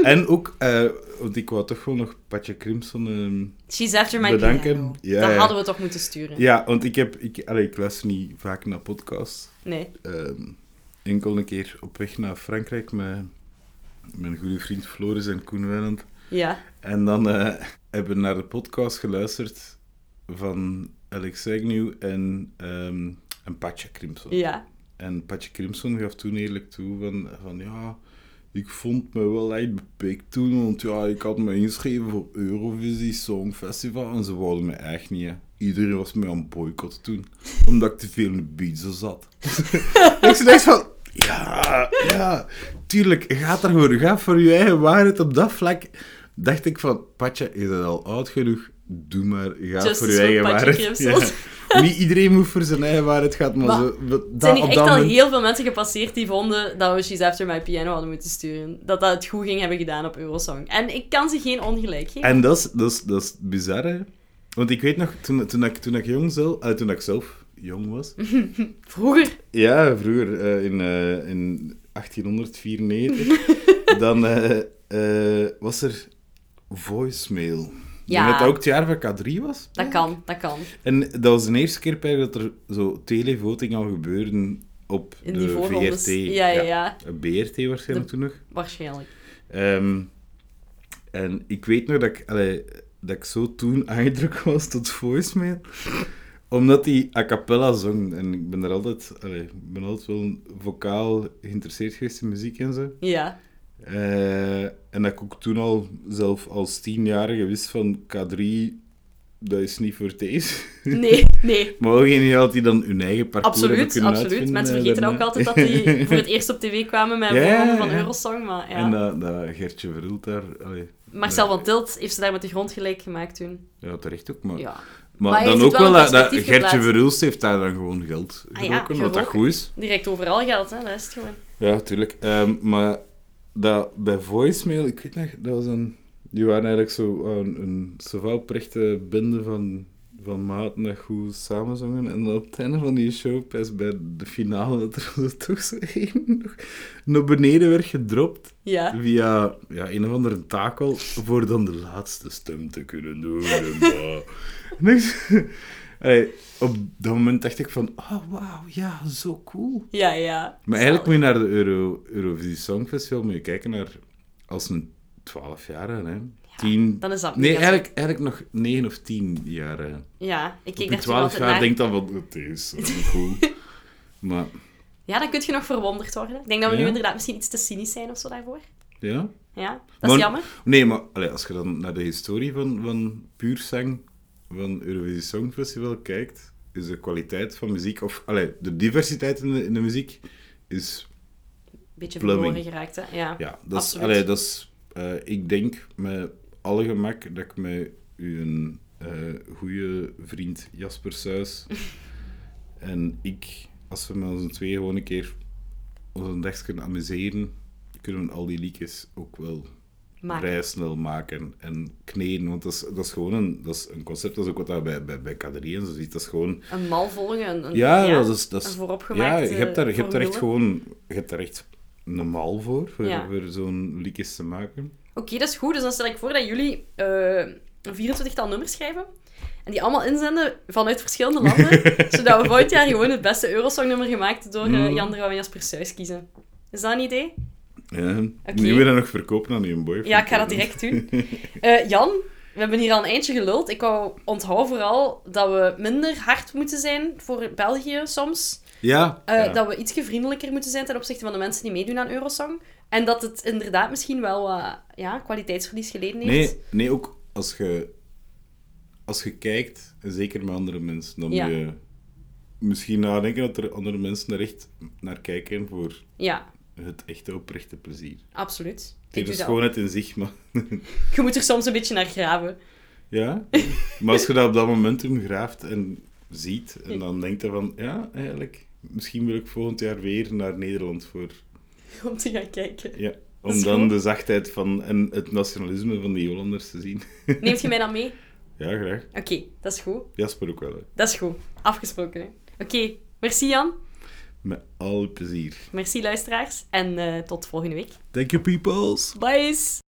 S2: en ook, eh, want ik wou toch wel nog Patje Crimson ehm,
S1: She's after my
S2: bedanken.
S1: piano.
S2: Ja,
S1: dat
S2: ja.
S1: hadden we toch moeten sturen.
S2: ja, want ik heb, ik, allee, ik luister niet vaak naar podcasts.
S1: Nee.
S2: Ehm, enkel een keer op weg naar Frankrijk met mijn goede vriend Floris en Koen Weiland.
S1: Ja.
S2: En dan eh, [laughs] hebben we naar de podcast geluisterd van Alex Agnew en, ehm en Patje Crimson.
S1: Ja.
S2: En Patje Crimson gaf toen eerlijk toe van, van ja, ik vond me wel echt bepikt toen, want ja, ik had me ingeschreven voor Eurovisie Songfestival en ze wouden me echt niet. hè. Iedereen was me aan het boycotten toen, omdat ik te veel in de pizza zat. [laughs] ik zei echt van, ja, ja, tuurlijk, ga er gewoon, ga voor je eigen waarheid op dat vlak. Dacht ik van, Patje, is dat al oud genoeg? Doe maar, ga
S1: Justice
S2: voor je
S1: voor
S2: eigen
S1: Patje
S2: waarheid.
S1: Crimson.
S2: Ja. Niet iedereen moet voor zijn eigen waarheid gaan, maar,
S1: Maar
S2: zo, dat,
S1: Er zijn hier
S2: op
S1: echt
S2: dat
S1: al
S2: moment-
S1: heel veel mensen gepasseerd die vonden dat we She's After My Piano hadden moeten sturen. Dat dat het goed ging hebben gedaan op Eurosong. En ik kan ze geen ongelijk geven.
S2: En dat is, dat is, dat is bizar, hè. Want ik weet nog, toen, toen, ik, toen ik jong zelf... eh, toen ik zelf jong
S1: [laughs]
S2: was...
S1: Vroeger.
S2: ja, vroeger, eh, in, eh, in
S1: [laughs]
S2: 1894, dan eh, eh, was er voicemail.
S1: Ja.
S2: Ja. Dat dat ook het jaar van K3 was.
S1: Dat kan, dat kan.
S2: En dat was de eerste keer per dat er zo televoting al gebeurde op
S1: In die
S2: de
S1: voorrondes.
S2: VRT.
S1: Ja, ja, ja.
S2: BRT waarschijnlijk
S1: De-
S2: toen nog.
S1: Waarschijnlijk.
S2: Ehm, en ik weet nog dat ik, allee, dat ik zo toen [laughs] aangedrukt was tot voicemail, omdat hij a cappella zong. En ik ben er altijd, allee, ik ben altijd wel vocaal geïnteresseerd geweest in muziek en zo. [laughs]
S1: Ja.
S2: Eh, en dat ik ook toen al, zelf als tienjarige, wist van K3, dat is niet voor deze. [laughs]
S1: Nee, nee.
S2: Maar wel geniaal dat die dan hun eigen parcours hebben
S1: Absoluut,
S2: kunnen
S1: absoluut.
S2: uitvinden,
S1: Mensen
S2: eh,
S1: vergeten ook
S2: daarna.
S1: altijd dat
S2: [laughs]
S1: die voor het eerst op tv kwamen met een
S2: Ja, ja,
S1: voorronde van
S2: ja.
S1: Eurosong. Maar ja.
S2: En eh, dat, dat Gertje Verhult daar... allee,
S1: Marcel
S2: dat-
S1: van Tilt heeft ze daar met de grond gelijk gemaakt toen.
S2: Ja, terecht ook, maar...
S1: Ja.
S2: Maar,
S1: Maar hij
S2: dan
S1: heeft
S2: ook
S1: het wel in
S2: wel dat, dat
S1: perspectief
S2: Gertje
S1: geplaatst.
S2: Verhulst heeft daar dan gewoon geld
S1: Ah ja,
S2: geroken, wat dat
S1: geroken.
S2: goed is.
S1: Direct overal geld, hè. Dat is het gewoon.
S2: Ja, tuurlijk. Ehm, maar dat, bij voicemail, ik weet nog, dat was een... Die waren eigenlijk zo eh, een, een sauvalprechte bende van, van maten dat goed samenzongen. En dan op het einde van die show, pas bij de finale, dat er toch zo één nog naar beneden werd gedropt.
S1: Ja.
S2: Via ja, een of andere takel voor dan de laatste stem te kunnen doen. En, bah. En ik- [laughs] Allee, op dat moment dacht ik van, oh wauw, ja, zo cool.
S1: Ja, ja.
S2: Maar eigenlijk moet je naar de Euro, Eurovisie Songfestival moet je kijken naar als een 12 jaar, hè? 10.
S1: dan is dat
S2: Nee,
S1: mega
S2: eigenlijk, eigenlijk nog 9 of 10 jaar. hè.
S1: Ja, ik keek
S2: Op je
S1: daar toen
S2: 12
S1: altijd
S2: jaar
S1: naar.
S2: denkt dan van, het is zo cool.
S1: [laughs]
S2: maar
S1: Ja, dan kun je nog verwonderd worden. Ik denk dat we nu
S2: Ja.
S1: inderdaad misschien iets te cynisch zijn of zo daarvoor.
S2: ja.
S1: Ja, dat is
S2: Maar-
S1: jammer.
S2: Nee, maar allee, als je dan naar de historie van, van puur zang van Eurovisie Songfestival kijkt, is de kwaliteit van muziek, of allee, de diversiteit in de, in de muziek, is
S1: Beetje
S2: Plumbing.
S1: verloren geraakt, hè. Ja,
S2: Ja, dat is,
S1: absoluut.
S2: allee, dat is, eh, ik denk met alle gemak dat ik met uw eh goede vriend
S1: [laughs]
S2: Jasper Suis en ik, als we met ons twee gewoon een keer onze dag kunnen amuseren, kunnen we al die liedjes ook wel
S1: Maken.
S2: vrij snel maken en kneden. Want dat is, dat is gewoon een, dat is een concept, dat is ook wat dat bij, bij, bij K3 en zo ziet. Dat is gewoon...
S1: Een mal volgen. Een, een-
S2: Ja, dat is... Dat
S1: een
S2: is ja,
S1: vooropgemaakte
S2: je hebt daar, je hebt daar echt
S1: formule.
S2: gewoon... Je hebt daar echt normaal voor, voor,
S1: Ja.
S2: voor zo'n liedjes te maken.
S1: Oké, dat is goed. Dus dan stel ik voor dat jullie eh, een 24-tal nummers schrijven. En die allemaal inzenden vanuit verschillende
S2: [laughs]
S1: landen. zodat we volgend jaar gewoon het beste Eurosong-nummer gemaakt door
S2: Mm.
S1: eh, Jan de Rauw en Jasper Suis kiezen. Is dat een idee?
S2: Ja. Nu wil je nog verkopen aan je boyfriend.
S1: Ja, ik ga dat direct
S2: [laughs]
S1: doen. Eh, Jan, we hebben hier al een eindje geluld. Ik wou onthoud vooral dat we minder hard moeten zijn voor België soms.
S2: Ja.
S1: Eh,
S2: ja.
S1: Dat we iets vriendelijker moeten zijn ten opzichte van de mensen die meedoen aan Eurosong. En dat het inderdaad misschien wel wat ja, kwaliteitsverlies geleden heeft.
S2: Nee, nee, ook als je, als je kijkt, en zeker met andere mensen, dan
S1: Ja.
S2: moet je misschien nadenken dat er andere mensen er echt naar kijken voor
S1: Ja,
S2: het echte oprechte plezier.
S1: absoluut. Ik
S2: Het
S1: doe
S2: is
S1: dat
S2: gewoon het in zich, maar...
S1: ook. Je moet er soms een beetje naar graven. [laughs]
S2: ja. Maar als je dat op dat momentum graaft en ziet, en dan denkt je van, ja, eigenlijk, misschien wil ik volgend jaar weer naar Nederland voor...
S1: Om te gaan kijken.
S2: Ja.
S1: is
S2: Om dan
S1: goed.
S2: de zachtheid van, en het nationalisme van die Hollanders te zien. [laughs]
S1: Neemt je mij dan mee?
S2: ja, graag.
S1: Oké, dat is goed.
S2: Jasper ook wel, hè.
S1: Dat is goed. Afgesproken. hè. Oké, merci Jan.
S2: Met alle plezier.
S1: Merci luisteraars. En eh, tot volgende week.
S2: Thank you, peoples.
S1: Bye!